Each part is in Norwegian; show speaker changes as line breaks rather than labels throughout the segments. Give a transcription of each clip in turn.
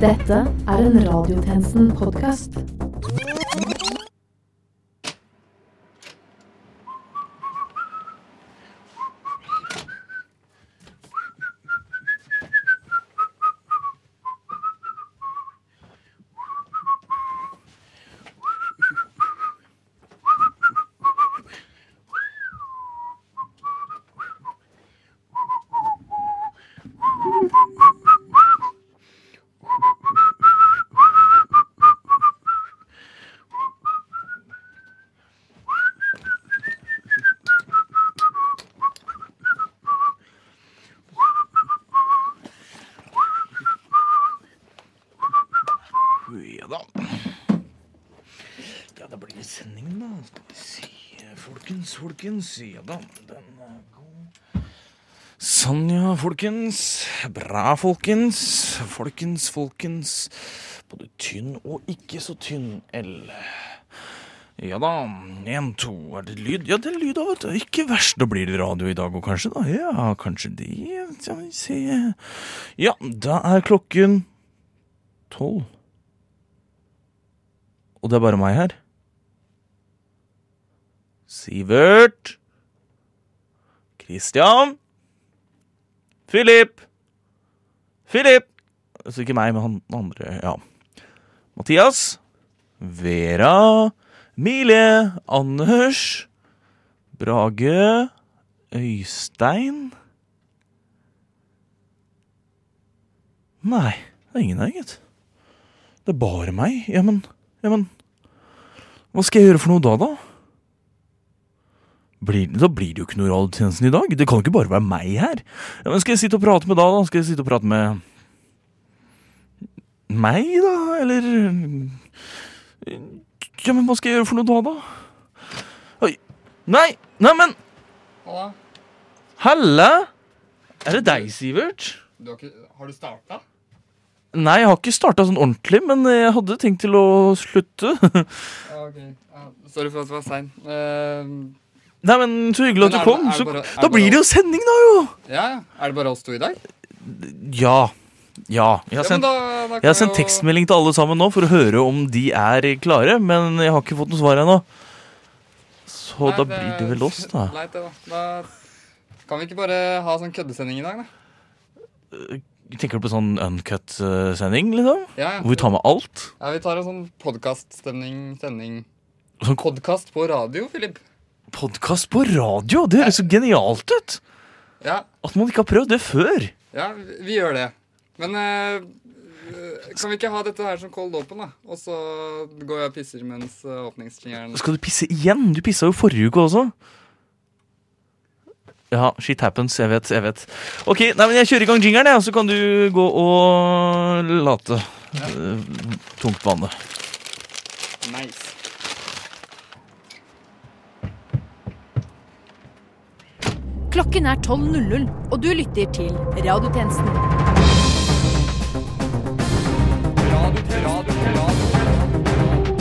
Dette er en Radiotjenesten-podkast.
Ja da. Ja, da blir det sending, da. Skal vi si Folkens, folkens. Ja da. Den er god. Sånn, ja, folkens. Bra, folkens. Folkens, folkens. Både tynn og ikke så tynn L. Ja da. Én, to. Er det lyd? Ja, det er lyd, da, vet du. Ikke verst. Da blir det radio i dag òg, kanskje. da. Ja, kanskje det. Skal vi se Ja, da er klokken tolv. Og det er bare meg her. Sivert. Christian. Philip. Philip. Altså ikke meg, men han andre. Ja. Mathias. Vera. Mile. Anders. Brage. Øystein. Nei, det er ingen her, gitt. Det er bare meg. Ja, men Ja, men Hva skal jeg gjøre for noe da, da? Blir, da blir det jo ikke noe radiotjenesten i dag. Det kan jo ikke bare være meg her. Ja, men Skal jeg sitte og prate med da, da? Skal jeg sitte og prate med meg, da? Eller Ja, men hva skal jeg gjøre for noe da, da? Oi. Nei! Neimen!
Halla.
Halla! Er det deg, Sivert?
Du har, ikke, har du starta?
Nei, jeg har ikke starta sånn ordentlig, men jeg hadde tenkt til å slutte.
Ja, ok. Ja, sorry for at jeg var sein. Eh,
Nei, men så hyggelig at du
Men er
kom.
det- er
Så,
det bare- er
da
det
blir det jo sending, da, jo!
ja, ja. Er det bare oss to i dag?
Ja. Ja. Jeg har
ja, men
sendt,
da, da
jeg
kan
har sendt
vi jo-
tekstmelding til alle sammen nå for å høre om de er klare, men jeg har ikke fått noe svar ennå. Så
Nei,
da blir det vel oss, da.
Leit, det, da. da. Kan vi ikke bare ha sånn køddesending i dag, da?
Tenker du på sånn uncut-sending, liksom?
Ja, ja.
Hvor vi tar med alt?
ja vi tar en sånn podkaststemning sending.
Sånn
Podkast på radio, Philip.
podkast på radio! Det høres så genialt ut!
Ja,
At man ikke har prøvd det før.
ja vi, vi gjør det. Men eh, eh, kan vi ikke ha dette her som cold open, da? Og så går jeg og pisser mens uh, åpningsjingeren
Skal du pisse igjen? Du pissa jo forrige uke også. Ja, shit happens. Jeg vet, jeg vet. Ok, nei, men Jeg kjører i gang jingeren, jeg, og så kan du gå og late eh, tungt vannet.
Nice.
Klokken er 12.00, og du lytter til Radiotjenesten.
Radio, radio, radio.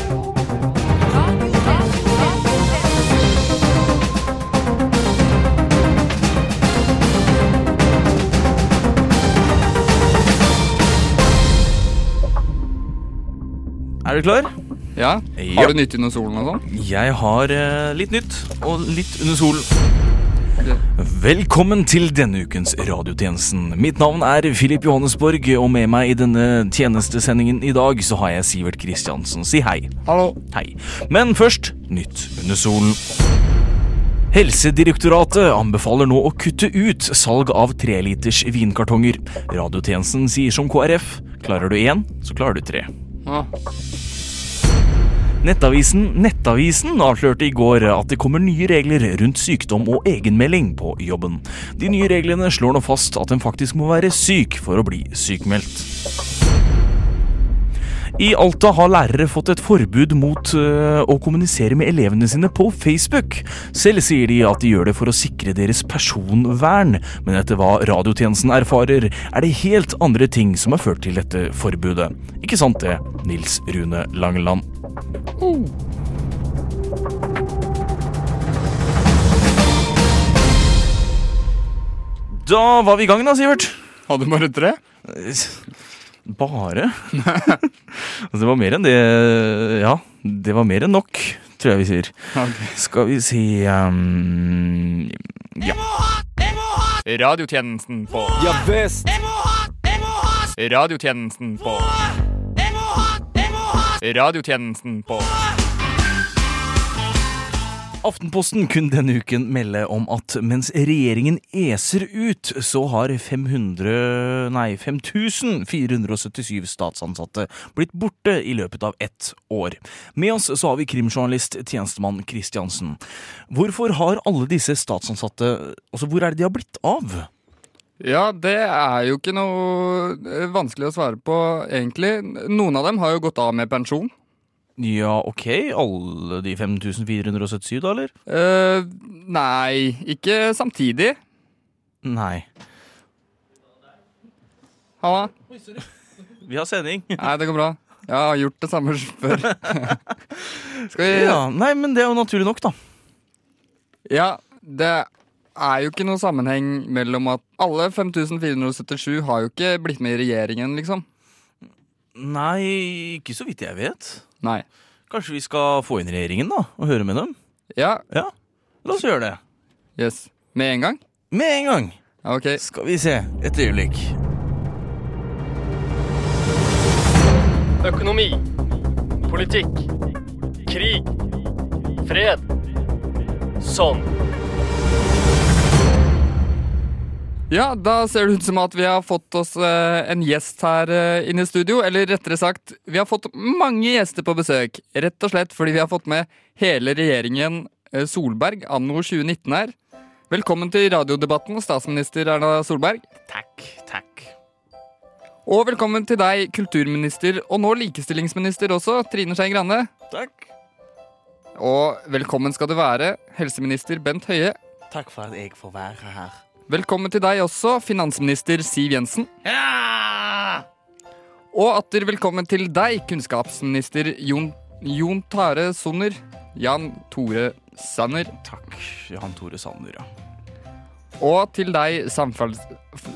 Er du klar?
Ja?
Ja.
Har du nytt under solen og sånn?
Jeg har eh, litt nytt og litt under solen.
Ok.
Velkommen til denne ukens radiotjenesten. Mitt navn er Filip Johannesborg, og med meg i denne tjenestesendingen i dag så har jeg Sivert Kristiansen. Si hei.
Hallo.
Hei. Men først nytt under solen. Helsedirektoratet anbefaler nå å kutte ut salg av treliters vinkartonger. Radiotjenesten sier som KrF klarer du én, så klarer du tre.
Ah,
Nettavisen Nettavisen avslørte i går at det kommer nye regler rundt sykdom og egenmelding på jobben. De nye reglene slår nå fast at en faktisk må være syk for å bli sykmeldt. I Alta har lærere fått et forbud mot øh, å kommunisere med elevene sine på Facebook. Selv sier de at de gjør det for å sikre deres personvern, men etter hva radiotjenesten erfarer, er det helt andre ting som har ført til dette forbudet. Ikke sant det, Nils Rune Langeland? Da var vi i gang, da, Sivert.
hadde bare tre?
Bare? altså, det var mer enn det Ja, det var mer enn nok, tror jeg vi sier. Skal vi si ehm,
Radiotjenesten på
Ja visst!
Radiotjenesten på Radiotjenesten på
Aftenposten kunne denne uken melde om at mens regjeringen eser ut, så har 500 Nei, 5477 statsansatte blitt borte i løpet av ett år. Med oss så har vi krimjournalist tjenestemann Kristiansen. Hvorfor har alle disse statsansatte Altså, hvor er det de har blitt av?
Ja, det er jo ikke noe eh, vanskelig å svare på, egentlig. Noen av dem har jo gått av med pensjon.
Ja, ok, alle de 5477, da, eller?
Eh, nei, ikke samtidig.
Nei.
Halla.
Vi har sending.
Nei, det går bra. Jeg har gjort det samme før. Skal vi
Ja, Nei, men det er jo naturlig nok, da.
Ja, det er jo ikke noe sammenheng mellom at alle 5477 har jo ikke blitt med i regjeringen, liksom.
Nei, ikke så vidt jeg vet.
Nei.
Kanskje vi skal få inn regjeringen da, og høre med dem?
Ja,
Ja, la oss gjøre det.
yes. Med en gang?
Med en gang.
Ja, Ok.
Skal vi se. Et øyeblikk.
Økonomi. Politikk. Krig. Fred. Sånn.
Ja, da ser det ut som at vi har fått oss eh, en gjest her eh, inne i studio. Eller rettere sagt, vi har fått mange gjester på besøk. Rett og slett fordi vi har fått med hele regjeringen eh, Solberg anno 2019 her. Velkommen til radiodebatten, statsminister Erna Solberg.
Takk, takk.
Og velkommen til deg, kulturminister, og nå likestillingsminister også, Trine Skei Grande.
Takk.
Og velkommen skal du være, helseminister Bent Høie.
Takk for at jeg får være her.
Velkommen til deg også, finansminister Siv Jensen. Og atter velkommen til deg, kunnskapsminister Jon, Jon Tare Sonner. Jan Tore Sanner.
Takk, Jan Tore Sanner, ja.
Og til deg, samferds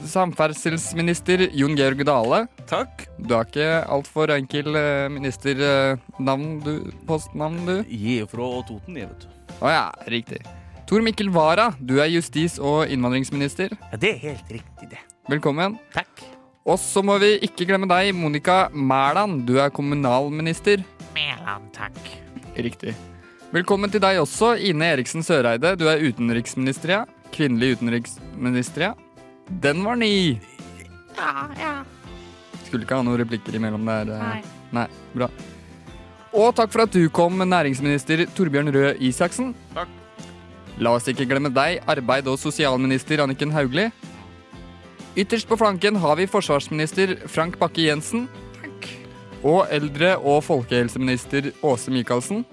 samferdselsminister Jon Georg Dale.
Takk.
Du har ikke altfor enkel eh, ministernavn, du. Postnavn, du.
Jeg er fra Toten, jeg, vet du.
Å ja, riktig. Tor Mikkel Wara, du er justis- og innvandringsminister.
Ja, det er helt riktig, det.
Velkommen.
Takk.
Og så må vi ikke glemme deg, Monica Mæland. Du er kommunalminister.
Mæland, takk.
Riktig. Velkommen til deg også, Ine Eriksen Søreide. Du er utenriksminister, ja. Kvinnelig utenriksminister, ja. Den var ny!
Ja, ja.
Skulle ikke ha noen replikker imellom der. eh. Nei, bra. Og takk for at du kom, næringsminister Torbjørn Røe Isaksen.
Takk.
La oss ikke glemme deg, arbeid- og sosialminister Anniken Hauglie. Ytterst på flanken har vi forsvarsminister Frank Bakke-Jensen. Og eldre- og folkehelseminister Åse Michaelsen.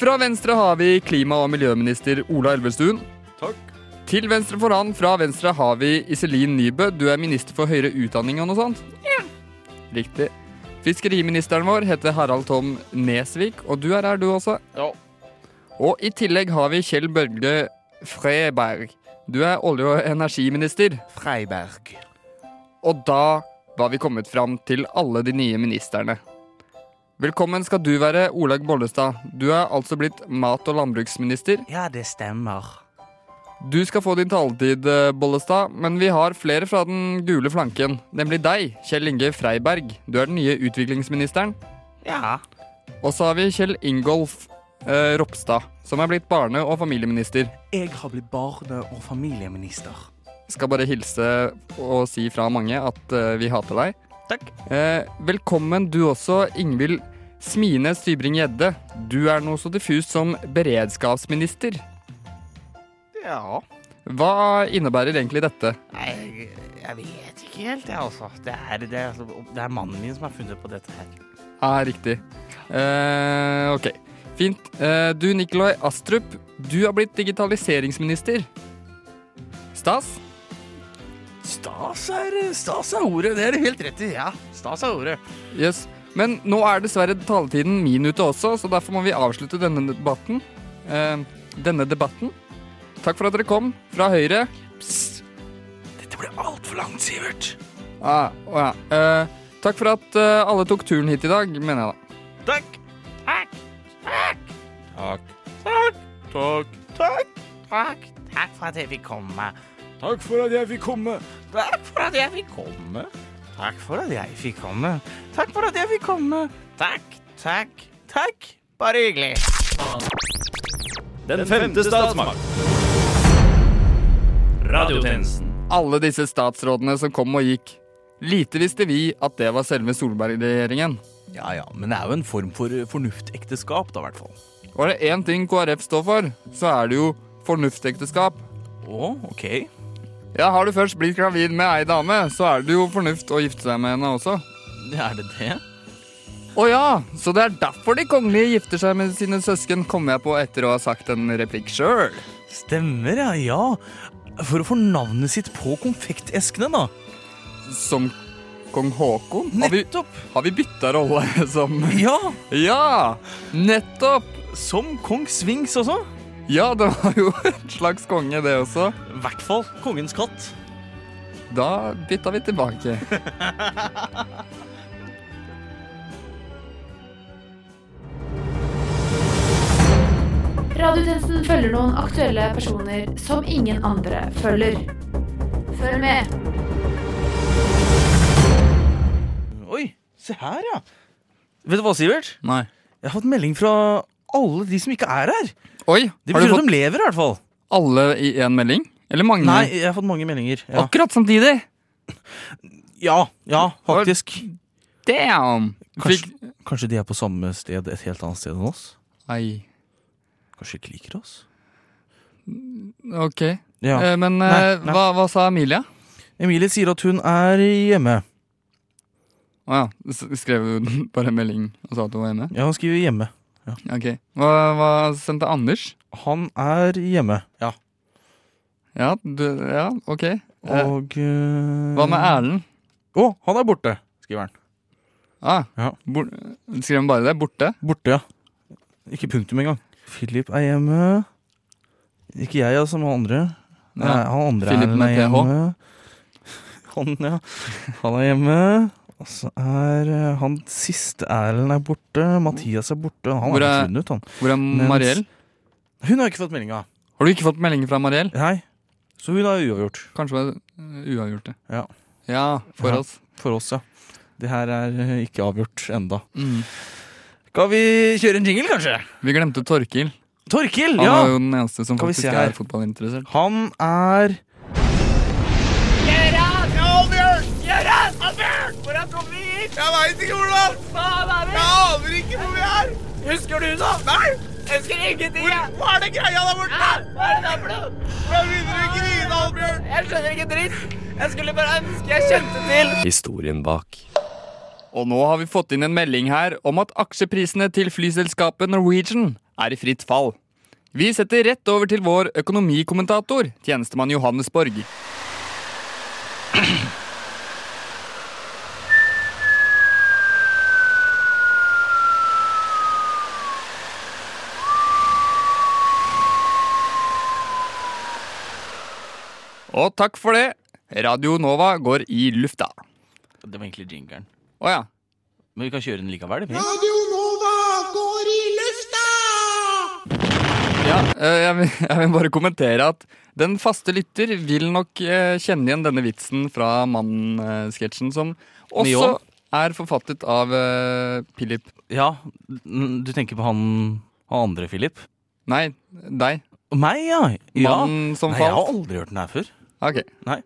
Fra venstre har vi klima- og miljøminister Ola Elvestuen. Til venstre for han, fra venstre, har vi Iselin Nybø. Du er minister for høyere utdanning og noe sånt? Riktig. Fiskeriministeren vår heter Harald Tom Nesvik, og du er her, du også.
Ja.
Og i tillegg har vi Kjell Børge Freberg. Du er olje- og energiminister.
Freiberg.
Og da var vi kommet fram til alle de nye ministerne. Velkommen skal du være, Olaug Bollestad. Du er altså blitt mat- og landbruksminister.
Ja, det stemmer.
Du skal få din taletid, eh, Bollestad, men vi har flere fra den gule flanken. Nemlig deg, Kjell Inge Freiberg. Du er den nye utviklingsministeren.
Ja.
Og så har vi Kjell Ingolf eh, Ropstad, som er blitt barne- og familieminister.
Jeg har blitt barne- og familieminister.
Skal bare hilse og si fra mange at eh, vi hater deg.
Takk.
Eh, velkommen du også, Ingvild Smine Stybring-Gjedde. Du er noe så diffust som beredskapsminister.
Ja.
Hva innebærer egentlig dette?
Nei, jeg, jeg vet ikke helt, jeg, altså. Det er, det, er, det er mannen min som har funnet på dette her.
Ja, riktig. Eh, ok, fint. Eh, du, Nikolai Astrup, du har blitt digitaliseringsminister. Stas?
Stas er, stas er ordet. Det er du helt rett i. Ja, stas er ordet.
Yes. Men nå er dessverre taletiden min ute også, så derfor må vi avslutte denne debatten. Eh, denne debatten. Takk for at dere kom fra Høyre.
Dette ble altfor langt, Sivert.
Ah, å ja. Eh, takk for at eh, alle tok turen hit i dag, mener jeg da.
Takk. Takk.
Takk.
Takk. Takk. Takk. Takk for at jeg fikk komme.
Takk for at jeg fikk komme.
Takk for at jeg fikk komme. Takk for at jeg fikk komme. Takk for at jeg fikk komme. Takk, takk, takk. Bare hyggelig.
Den femte statsmakt. Radiotjenesten.
Alle disse statsrådene som kom og gikk. Lite visste vi at det var selve Solberg-regjeringen.
Ja ja, men det er jo en form for eh, fornuftekteskap, da, i hvert fall.
Og er det én ting KrF står for, så er det jo fornuftekteskap.
Å, ok.
Ja, har du først blitt gravid med ei dame, så er det jo fornuft å gifte seg med henne også.
Er det det?
Å ja, så det er derfor de kongelige gifter seg med sine søsken, kom jeg på etter å ha sagt en replikk sjøl.
Stemmer, ja. ja. For å få navnet sitt på konfekteskene, da.
Som kong Haakon? Har vi,
Nettopp.
har vi bytta rolle som
Ja,
Ja! Nettopp!
som kong Svings også.
Ja, det var jo en slags konge, det også.
I hvert fall kongens katt.
Da bytta vi tilbake.
Radiotjenesten følger noen aktuelle personer som ingen andre følger. Følg med.
Oi, se her, ja. Vet du hva, Sivert?
Nei.
Jeg har fått melding fra alle de som ikke er her.
Oi,
Det
har du
betyr at
fått
de lever, i hvert fall.
alle i én melding? Eller mange?
Nei, jeg har fått mange meldinger. Ja,
Akkurat samtidig!
ja, ja faktisk.
Damn! Fikk
Kanskje, kanskje de er på samme sted et helt annet sted enn oss?
Nei,
Kanskje de ikke liker oss?
OK.
Ja.
Eh, men
Nei,
eh,
nei.
Hva, hva sa Emilie?
Emilie sier at hun er hjemme.
Å ja, s- skrev hun bare en melding og sa at hun var hjemme?
Ja, hun skriver hjemme.
Ok. Hva, hva sendte Anders?
Han er hjemme. Ja.
Ja, du, ja ok. Eh,
Og eh,
hva med Erlend?
Å, han er borte, skriver han.
Ah,
Ja.
bor, skrev han bare det? Borte?
Borte, ja. Ikke punktum engang. Philip er hjemme. Ikke jeg, altså, men han andre. Nei,
Ja.
han andre
Philip
er,
med
er
PH.
hjemme. Han, ja. Han er hjemme. Og så er eh, han siste Erlend er borte. Mathias er borte. Han
Hvor
er
er-
funnet ut, han.
Hvor er
Mens-
Mariell?
Hun har ikke fått meldinga.
Har du ikke fått melding fra Mariell?
Nei. Så hun har uavgjort.
Kanskje var det uavgjort, det.
Ja.
Ja, for
Ja.
oss.
For oss, ja. Det her er eh, ikke avgjort enda.
Mm.
Skal vi kjøre en jingle, kanskje?
Vi glemte Torkil.
Torkil!
Han
Ja!
var jo den eneste som
Skal vi
faktisk
se her.
er fotballinteressert.
Han er
Historien bak.
Og nå har vi fått inn en melding her om at aksjeprisene til flyselskapet Norwegian er i fritt fall. Vi setter rett over til vår økonomikommentator, tjenestemann Johannes Borg. Og takk for det. Radio Nova går i lufta.
Det var egentlig jingeren.
Å ja.
Men vi kan kjøre den likevel. det blir.
Ja, eh, jeg vil, jeg vil bare kommentere at den faste lytter vil nok eh, kjenne igjen denne vitsen fra Mannen-sketsjen, som også
Mjå?
er forfattet av eh, Philip
Ja, n- du tenker på han, han andre, Philip?
Nei, deg.
Meg, ja. ja.
Mannen som
Nei, jeg har
falt.
aldri hørt den her før.
Ok.
Nei.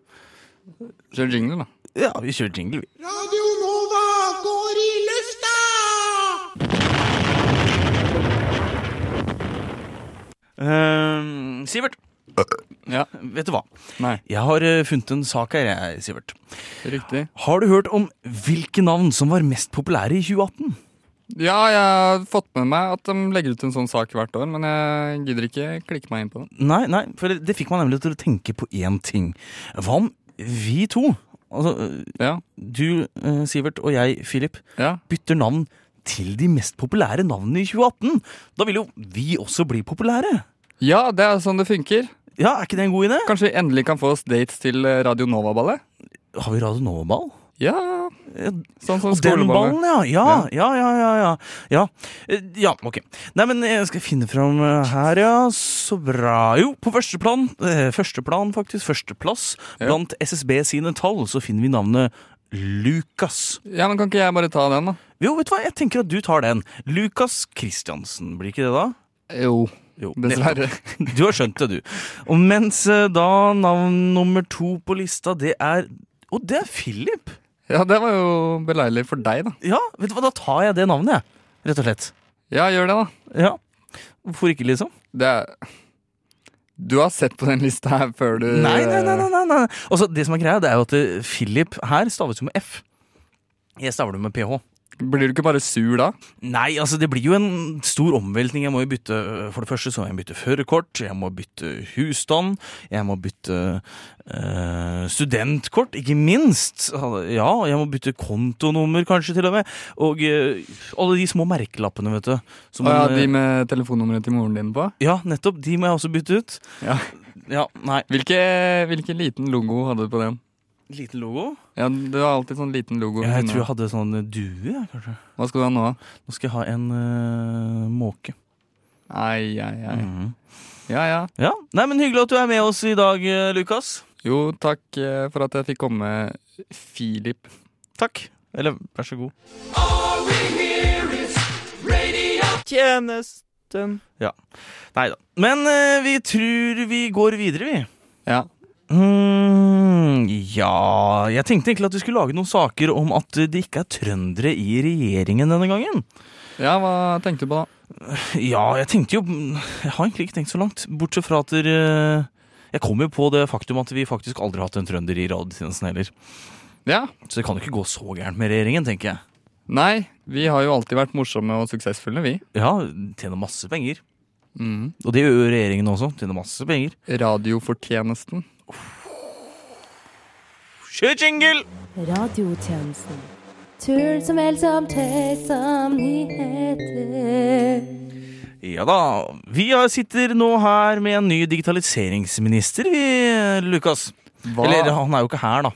Kjør jingle, da.
Ja, vi kjører jingle, vi. Radio Nova går i lufta! Ehm, Sivert,
Ja,
vet du hva?
Nei,
Jeg har eh, funnet en sak her, jeg, Sivert.
riktig.
Har du hørt om hvilke navn som var mest populære i 2018?
Ja, jeg har fått med meg at de legger ut en sånn sak hvert år, men jeg gidder ikke klikke meg inn på den.
Nei, nei, for det, det fikk meg nemlig til å tenke på én ting. Hva om vi to, altså øh,
Ja,
du øh, Sivert og jeg Philip,
ja.
bytter navn til de mest populære navnene i 2018? Da vil jo vi også bli populære.
ja det er sånn det funker.
Ja, er ikke det en god idé?
Kanskje vi endelig kan få oss dates til eh, Radio Nova-ballet?
Har vi Radio Nova-ball?
Ja, sånn som
Og den
skoleballen.
ballen, ja. Ja, ja, ja, ja. ja. ja. Eh, ja ok. Nei, men jeg skal finne fram eh, her, ja. Så bra. Jo, på førsteplan, eh, førsteplan faktisk, førsteplass,
Ja.
blant SSB sine tall, så finner vi navnet Lukas.
Ja, men kan ikke jeg bare ta den, da?
Jo, vet du hva, jeg tenker at du tar den. Lukas Kristiansen, blir ikke det da?
Jo,
Jo,
dessverre.
nettopp. Du har skjønt det, du. Og mens eh, da navn nummer to på lista, det er Å, det er Philip!
Ja, det var jo beleilig for deg, da.
Ja, vet du hva, da tar jeg det navnet, jeg. Rett og slett.
Ja, gjør det, da.
Ja. Hvorfor ikke, liksom?
Det er Du har sett på den lista her før du
Nei, nei, nei. nei, nei, nei. Altså, det som er greia, det er jo at eh, Philip her staves jo med F. Jeg staver det med ph.
Blir du ikke bare sur da?
Nei, altså det blir jo en stor omveltning. Jeg må jo bytte, eh, For det første så må jeg bytte førerkort, jeg må bytte husstand, jeg må bytte eh, studentkort, ikke minst. Ja, og jeg må bytte kontonummer kanskje til og med. Og eh, alle de små merkelappene, vet du. Som
Å ja,
man, eh,
de med telefonnummeret til moren din på?
ja, nettopp. De må jeg også bytte ut.
Ja.
Ja, nei.
Hvilke, hvilken liten logo hadde du på den?
Liten logo.
Ja, Du har alltid sånn liten logo. ved
Ja, jeg
siden
tror jeg
av.
hadde sånn due, jeg, kanskje.
Hva skal du ha nå?
Nå skal jeg ha en eh, måke.
Ai, ai, ai.
Mhm.
Ja, ja.
Ja, nei, men Hyggelig at du er med oss i dag, eh, Lukas.
Jo, takk eh, for at jeg fikk komme, Filip.
Takk. Eller vær så god.
Tjenesten.
Nei da. Men eh, vi tror vi går videre, vi.
Ja.
Mm, ja Jeg tenkte egentlig at vi skulle lage noen saker om at det ikke er trøndere i regjeringen denne gangen.
Ja, hva tenkte du på da?
Ja, jeg tenkte jo Jeg har egentlig ikke tenkt så langt. Bortsett fra at dere Jeg kom jo på det faktum at vi faktisk aldri har hatt en trønder i radiotjenesten heller.
Ja.
Så det kan jo ikke gå så gærent med regjeringen, tenker jeg.
Nei, vi har jo alltid vært morsomme og suksessfulle, vi.
Ja, tjener masse penger.
Mm.
Og det gjør jo regjeringen også. Tjener masse penger.
Radiofortjenesten.
Kjør jingle!
Radiotjenesten. Tull som vel som tøys som nyheter.
Ja da. Vi har- sitter nå her med en ny digitaliseringsminister, vi, Lukas.
Hva?
Eller han er jo ikke her, da.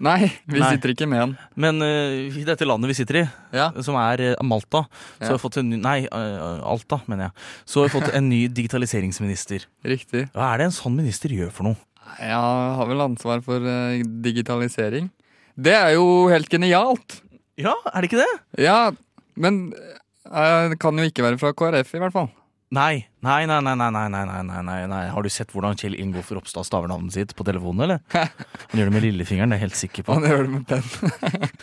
Nei, vi
Nei.
sitter ikke med en.
Men eh, i dette landet vi sitter i,
Ja.
som er eh, Malta, så
Ja.
har vi fått en ny Nei, eh, Alta, mener jeg. Så har vi fått en ny digitaliseringsminister.
Riktig.
Hva er det en sånn minister gjør for noe?
Jeg har vel ansvar for eh, digitalisering. Det er jo helt genialt.
Ja, er det ikke det?
Ja, men eh, det kan jo ikke være fra KrF, i hvert fall.
Nei, nei, nei, nei, nei, nei, nei, nei, nei, nei, nei. Har du sett hvordan Kjell Ingolf Ropstad staver navnet sitt på telefonen, eller? Han gjør det med lillefingeren, det er jeg helt sikker på.
Han gjør det med penn.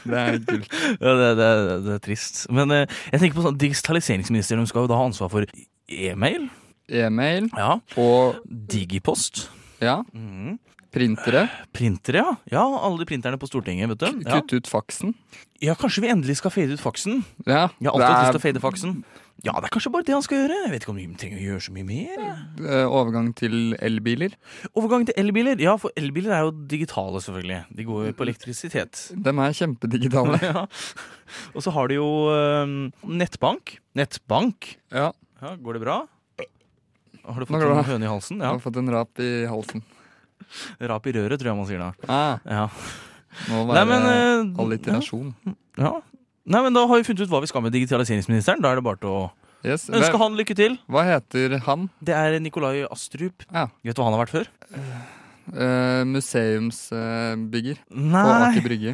det er gull.
Ja, det, det, det er trist. Men eh, jeg tenker på sånn digitaliseringsministeren de skal jo da ha ansvar for e-mail,
E-mail
ja,
og
digipost,
ja,
Mm.
printere.
printere, ja. Ja, alle de printerne på Stortinget, vet du. Ja.
Kutt ut faksen.
ja, kanskje vi endelig skal fade ut faksen.
Ja,
Jeg har alltid hatt lyst til å fade faksen. Ja, det er kanskje bare det han skal gjøre. Jeg vet ikke om vi trenger å gjøre så mye mer.
eh, overgang til elbiler.
Overgang til elbiler. Ja, for elbiler er jo digitale, selvfølgelig. De går jo på elektrisitet.
De er kjempedigitale.
Ja. Og så har de jo eh, nettbank. Nettbank.
Ja,
Ja, går det bra? Har du fått
Nå går det
en
bra.
høne i halsen?
jeg
Ja.
har fått en rap i halsen.
Rap i røret, tror jeg man sier da.
Ah,
Ja.
må
Nei,
være
men, eh,
alliterasjon.
Ja. Nei, men Da har vi funnet ut hva vi skal med digitaliseringsministeren. Da er det bare til å
Yes.
ønske
Hva,
han lykke til.
hva heter han?
Det er Nikolai Astrup.
Ja.
Vet du hva han har vært før?
Eh, museumsbygger på Aker
Nei,
Brygge.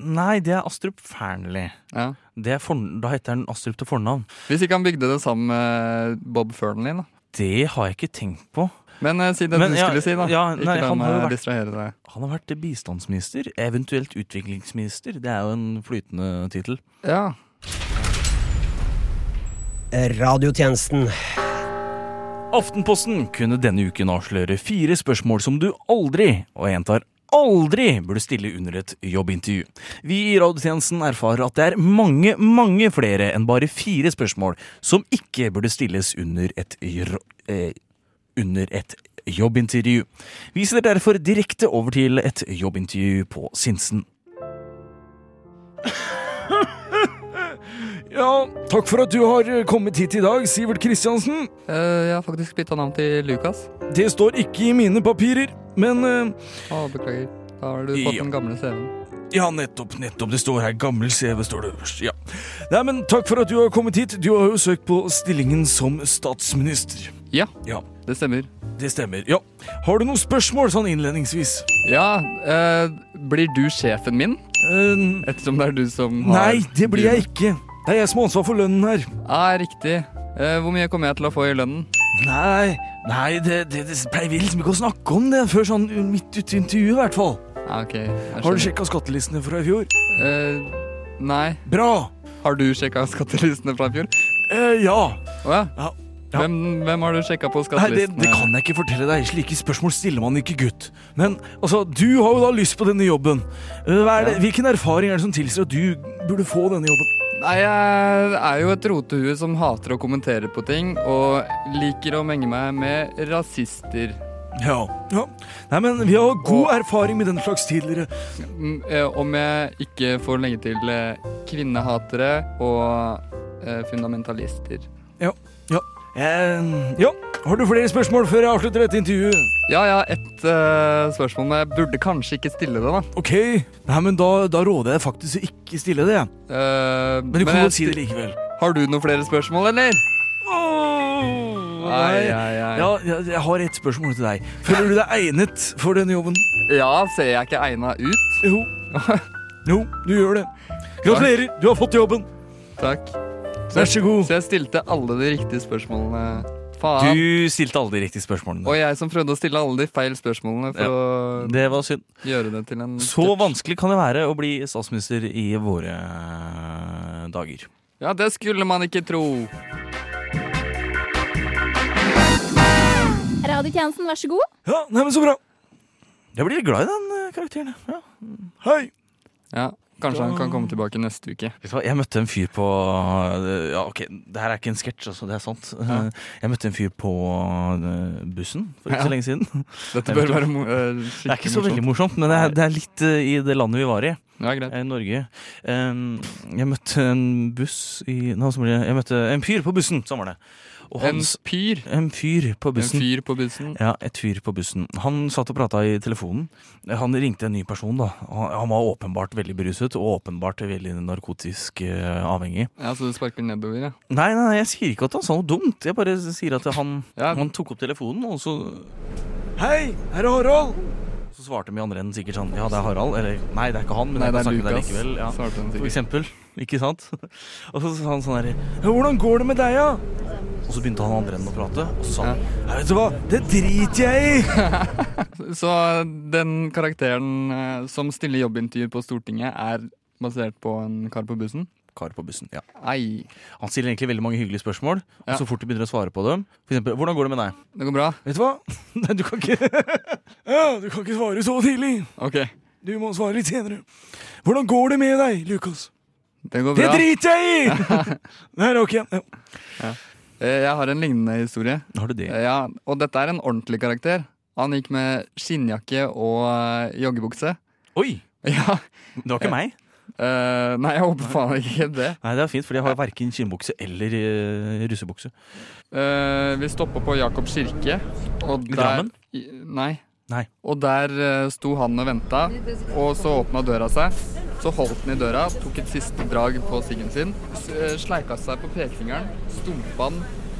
nei det er Astrup Fearnley.
Ja.
Det er forn- Da heter han Astrup til fornavn.
Hvis ikke han bygde det sammen med Bob Fernley, da.
Det har jeg ikke tenkt på.
Men eh, si det
Men,
du
ja,
skulle si, da.
ja, nei,
ikke la
han har jo
meg
vært-
distrahere deg.
Han har vært bistandsminister, eventuelt utviklingsminister. Det er jo en flytende tittel.
Ja.
Radiotjenesten.
Aftenposten kunne denne uken avsløre fire spørsmål som du aldri, og jeg gjentar aldri, burde stille under et jobbintervju. Vi i radiotjenesten erfarer at det er mange, mange flere enn bare fire spørsmål som ikke burde stilles under et, ro- eh, under et jobbintervju. Vi ser derfor direkte over til et jobbintervju på Sinsen.
Ja, takk for at du har kommet hit i dag, Sivert Kristiansen.
Eh, jeg har faktisk bytta navn til Lukas.
Det står ikke i mine papirer, men eh,
Å, beklager. Da har du fått
Ja.
den gamle CV-en.
Ja, nettopp, nettopp. Det står her. Gammel CV står det øverst. Ja. Nei, men takk for at du har kommet hit. Du har jo søkt på stillingen som statsminister.
Ja,
Ja,
det stemmer.
det stemmer. Ja. Har du noen spørsmål sånn innledningsvis?
Ja, eh, blir du sjefen min?
Eh,
Ettersom det er du som har
nei, det blir jeg ikke. Det er jeg som har ansvar for lønnen her.
Ja, Ah, riktig. Eh, hvor mye kommer jeg til å få i lønnen?
Nei, nei det, det, det pleier vi liksom ikke å snakke om det før sånn midt ute i intervjuet, i hvert fall.
Ja, Ah, ok. jeg
Har du
skjønner.
sjekka skattelistene fra i fjor?
Eh, nei.
Bra!
Har du sjekka skattelistene fra i fjor?
Eh, ja.
Å ja.
Ja. Ja.
Hvem, hvem har du sjekka på
Nei, det,
skattelistene?
det kan jeg ikke fortelle deg. Slike spørsmål stiller man ikke, gutt. Men altså, du har jo da lyst på denne jobben. Eh, Hva er det,
Ja.
Hvilken erfaring er det som tilsier at du burde få denne jobben?
Nei, jeg er jo et rotehue som hater å kommentere på ting, og liker å menge meg med rasister.
Ja. ja. Nei, men vi har god
Og-
erfaring med den slags tidligere.
Mm, eh, Om jeg ikke får lenge til eh, kvinnehatere og eh, fundamentalister.
Eh, ja. Har du flere spørsmål før jeg avslutter dette intervjuet?
Ja, jeg har ett eh, spørsmål, men jeg burde kanskje ikke stille det, da.
Ok. Nei, men da, da råder jeg faktisk å ikke stille det. jeg.
Eh,
Men du kan
jeg
godt si det likevel.
Har du noen flere spørsmål, eller? Ai,
Nei.
ai, ai.
Ja, jeg, jeg har et spørsmål til deg. Føler du deg egnet for denne jobben?
ja, ser jeg ikke egna ut?
Jo. Jo, du gjør det. Gratulerer, du har fått jobben.
Takk.
Vær så god.
Så jeg stilte alle de riktige spørsmålene. Faen.
Du stilte alle de riktige spørsmålene.
Og jeg som prøvde å stille alle de feil spørsmålene for
Det var synd.
å gjøre det til en
Så vanskelig kan det være å bli statsminister i våre eh, dager.
Ja, det skulle man ikke tro.
Radiotjenesten, vær så god.
Ja, nei, men så bra. Jeg blir litt glad i den eh, karakteren. jeg. Ja. Mm. Hei!
Ja, Kanskje han kan komme tilbake neste uke.
Vet du hva, Jeg møtte en fyr på eh, Ja, ok, det her er ikke en sketsj, altså. Det er sant.
Ja.
Jeg møtte en fyr på eh, bussen for ikke
Ja.
så lenge siden.
Dette bør være mo eh, skikkelig
Det er ikke så veldig morsomt, men det er, det er litt eh, i det landet vi var i.
Ja, greit.
Eh, Norge. Em, jeg møtte en buss i Nei, så blir det- Jeg møtte en fyr på bussen, sånn var det. Og
En
hans,
pyr.
en, fyr på
En
bussen.
fyr på bussen.
Ja, et fyr på bussen. Han satt og prata i telefonen. Han ringte en ny person, da. Han, han var åpenbart veldig beruset, og åpenbart veldig narkotisk eh, avhengig.
Ja, Så du sparker nedover, ja.
Nei, nei, nei, jeg sier ikke at han sa noe dumt. Jeg bare sier at han,
Ja.
han tok opp telefonen, og så Hei, her er Harald! Så svarte de i andre enden sikkert sånn Ja, det er Harald. Eller nei, det er ikke han, men
Nei,
jeg
det
kan
er
snakke med deg
Lukas.
likevel. Ja.
svarte han
For
sikkert.
eksempel. Ikke sant? Og så sa han sånn her «Ja, Hvordan går det med deg, da? Og så begynte han andre enden å prate, og så sa han «Nei, Vet du hva, det driter jeg i!
Så den karakteren eh, som stiller jobbintervju på Stortinget, er basert på en kar på bussen?
Kar på bussen. ja
Ei,
Han stiller egentlig veldig mange hyggelige spørsmål, og
Ja.
så fort du begynner å svare på dem For eksempel, hvordan går det med deg?
det går bra?
Vet du hva? Nei, du kan ikke ja, Du kan ikke svare så tidlig!
Ok,
Du må svare litt senere. Hvordan går det med deg, Lukas?
det går
Det
bra.
driter jeg i! Nei, det er ok. Ja.
Eh, Jeg har en lignende historie.
Har du det?
Eh, Ja, og dette er en ordentlig karakter. Han gikk med skinnjakke og eh, joggebukse.
Oi!
Ja.
Det var ikke meg.
eh, nei, jeg håper faen ikke det.
Nei, det er fint, for jeg har verken skinnbukse eller eh, russebukse.
Eh, vi stoppa på Jakobs kirke, og
I
der
Drammen?
I, nei.
Nei.
Og der eh, sto han og venta, og så åpna døra seg. Så holdt han i døra, tok et siste drag på siggen sin, s- eh, sleika seg på pekefingeren, stumpa han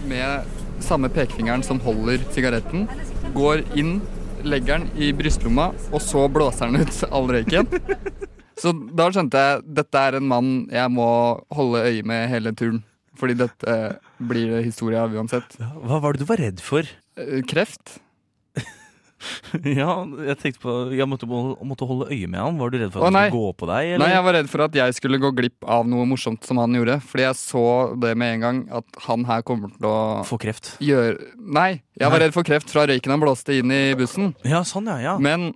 med samme pekefingeren som holder sigaretten, går inn, legger den i brystlomma, og så blåser han ut all røyken. Så da skjønte jeg dette er en mann jeg må holde øye med hele turen. Fordi dette eh, blir historia uansett.
Ja, Hva var det du var redd for?
Eh, Kreft?
Ja, jeg tenkte på Jeg måtte, måtte holde øye med han. Var du redd for
Å,
at han
nei.
skulle gå på deg?
Nei,
Eller?
jeg var redd for at jeg skulle gå glipp av noe morsomt som han gjorde. Fordi jeg så det med en gang, at han her kommer til å
Få kreft.
gjøre Nei, jeg var
Nei.
redd for kreft fra røyken han blåste inn i bussen.
Ja, sånn, ja. ja.
Men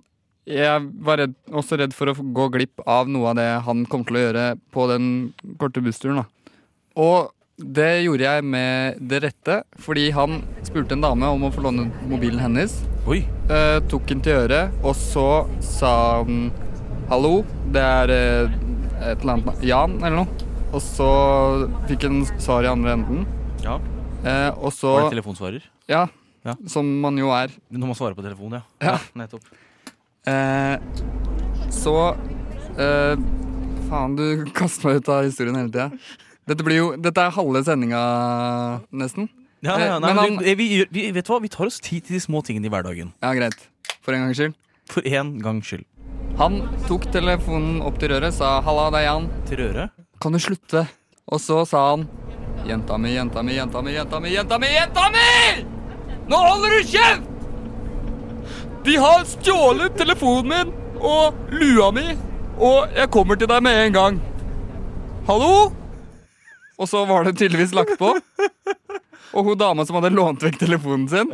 jeg var redd, også redd for å gå glipp av noe av det han kommer til å gjøre på den korte bussturen. Da. Og det gjorde jeg med det rette, fordi han spurte en dame om å få låne mobilen hennes.
Oi.
Eh, tok den til øret, og så sa han hallo, det er eh, et eller annet na- Jan eller noe. Og så fikk han svar i andre enden.
Ja.
Eh, og så
Var det telefonsvarer?
ja,
Ja.
som man jo er.
Når man svarer på telefonen, ja.
Ja.
nettopp.
Eh, så Eh, faen, du kaster meg ut av historien hele tida. Dette, blir jo, dette er halve sendinga, nesten.
Ja, ja, nei,
Eh,
men
men han-
du, eh, vi, gjør- vi, vet du hva? vi tar oss tid til de små tingene i hverdagen.
Ja, greit. For en gangs skyld.
For én gangs skyld.
Han tok telefonen opp til røret, sa 'halla, det er Jan'.
Til røret.
Kan du slutte? Og så sa han Jenta mi, jenta mi, jenta mi, jenta mi, jenta mi, jenta mi! Nå holder du kjeft! De har stjålet telefonen min og lua mi, og jeg kommer til deg med en gang. Hallo? Og så var det tydeligvis lagt på. Og hun dama som hadde lånt vekk telefonen sin,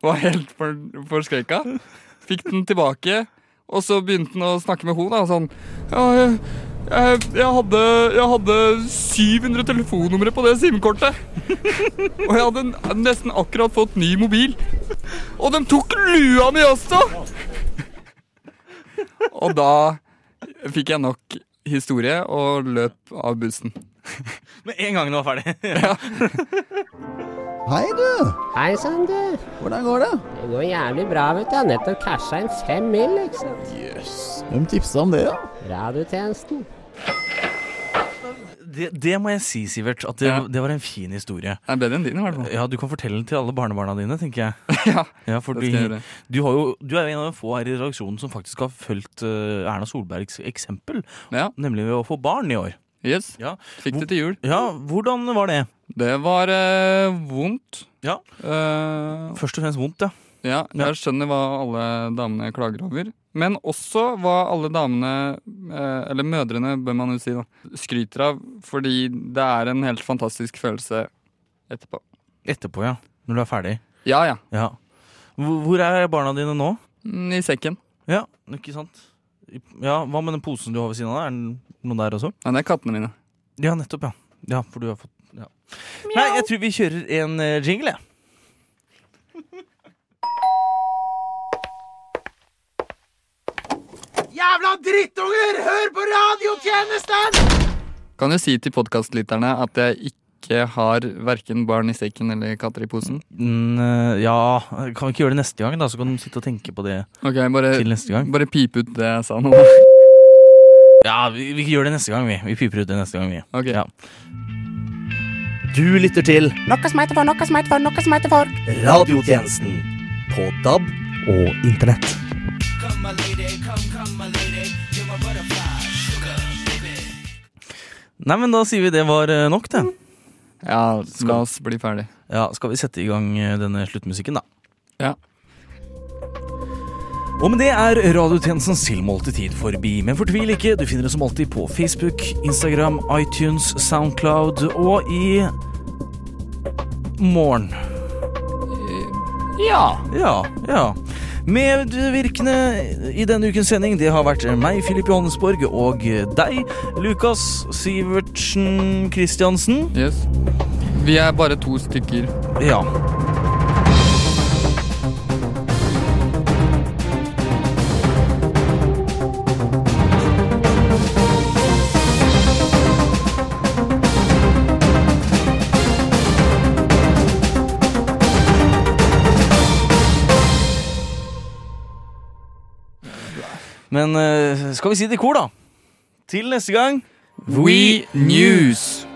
var helt for, forskrekka. Fikk den tilbake, og så begynte han å snakke med henne. da, Sånn ja, jeg, jeg, jeg, hadde, jeg hadde 700 telefonnumre på det SIM-kortet. Og jeg hadde n- nesten akkurat fått ny mobil. Og de tok lua mi også! Og da fikk jeg nok historie og løp av bussen.
Med en gang den var ferdig.
Hei, du!
Hei sann, du.
Hvordan går det?
Det går jævlig bra, vet du. Jeg har nettopp casha inn fem mil, liksom. ikke sant.
Hvem tipsa om det, da?
Radiotjenesten.
Det, det må jeg si, Sivert, at det,
Ja.
det var en fin historie.
Det er bedre enn din, i hvert fall.
Ja, Du kan fortelle den til alle barnebarna dine, tenker jeg.
Ja,
Ja, fordi
skal jeg gjøre.
du, har jo, du er jo en av de få her i redaksjonen som faktisk har fulgt eh, Erna Solbergs eksempel,
ja.
nemlig ved å få barn i år.
Yes.
Ja,
Fikk det til jul.
ja Hvordan var det?
Det var eh, vondt.
Ja.
Eh,
Først og fremst vondt, ja.
Ja, jeg skjønner hva alle damene klager over. Men også hva alle damene, eh, eller mødrene, bør man jo si, da, skryter av. Fordi det er en helt fantastisk følelse etterpå.
Etterpå, ja. Når du er ferdig.
Ja ja.
Ja. Hvor, hvor er barna dine nå?
Mm, I sekken.
Ja, ikke sant? Ja, Hva med den posen du har ved siden av deg? Er den noen der også?
Nei, det er kattene mine.
Ja, nettopp, ja. Ja, for du har fått ja. Nei, jeg tror vi kjører en eh, jingle, jeg.
Kan jo si til podkastlytterne at jeg ikke har verken barn i sekken eller katter i posen.
Mm, eh, ja, kan vi ikke gjøre det neste gang, da? Så kan du sitte og tenke på det
Ok, bare,
til neste gang.
bare pip ut det jeg sa nå.
Ja, vi, vi gjør det neste gang, vi. Vi piper ut det neste gang, vi.
Ok.
Ja.
Du lytter til
Noe som heter for, noe som heter for, noe som heter for.
Radiotjenesten på DAB og Internett.
Nei, men da sier vi det var eh, nok, det.
Ja, la oss bli ferdig.
Ja, skal vi sette i gang eh, denne sluttmusikken, da?
Ja.
Og med det er radiotjenestens tilmålte tid forbi. Men fortvil ikke, du finner oss som alltid på Facebook, Instagram, iTunes, Soundcloud og i morgen.
Ja.
Ja, ja. Medvirkende i denne ukens sending, det har vært meg, Filip Johannesborg, og deg, Lukas Sivertsen Kristiansen.
Yes. Vi er bare to stykker.
Ja. Men eh, skal vi si det i kor, da? Til neste gang.
We News.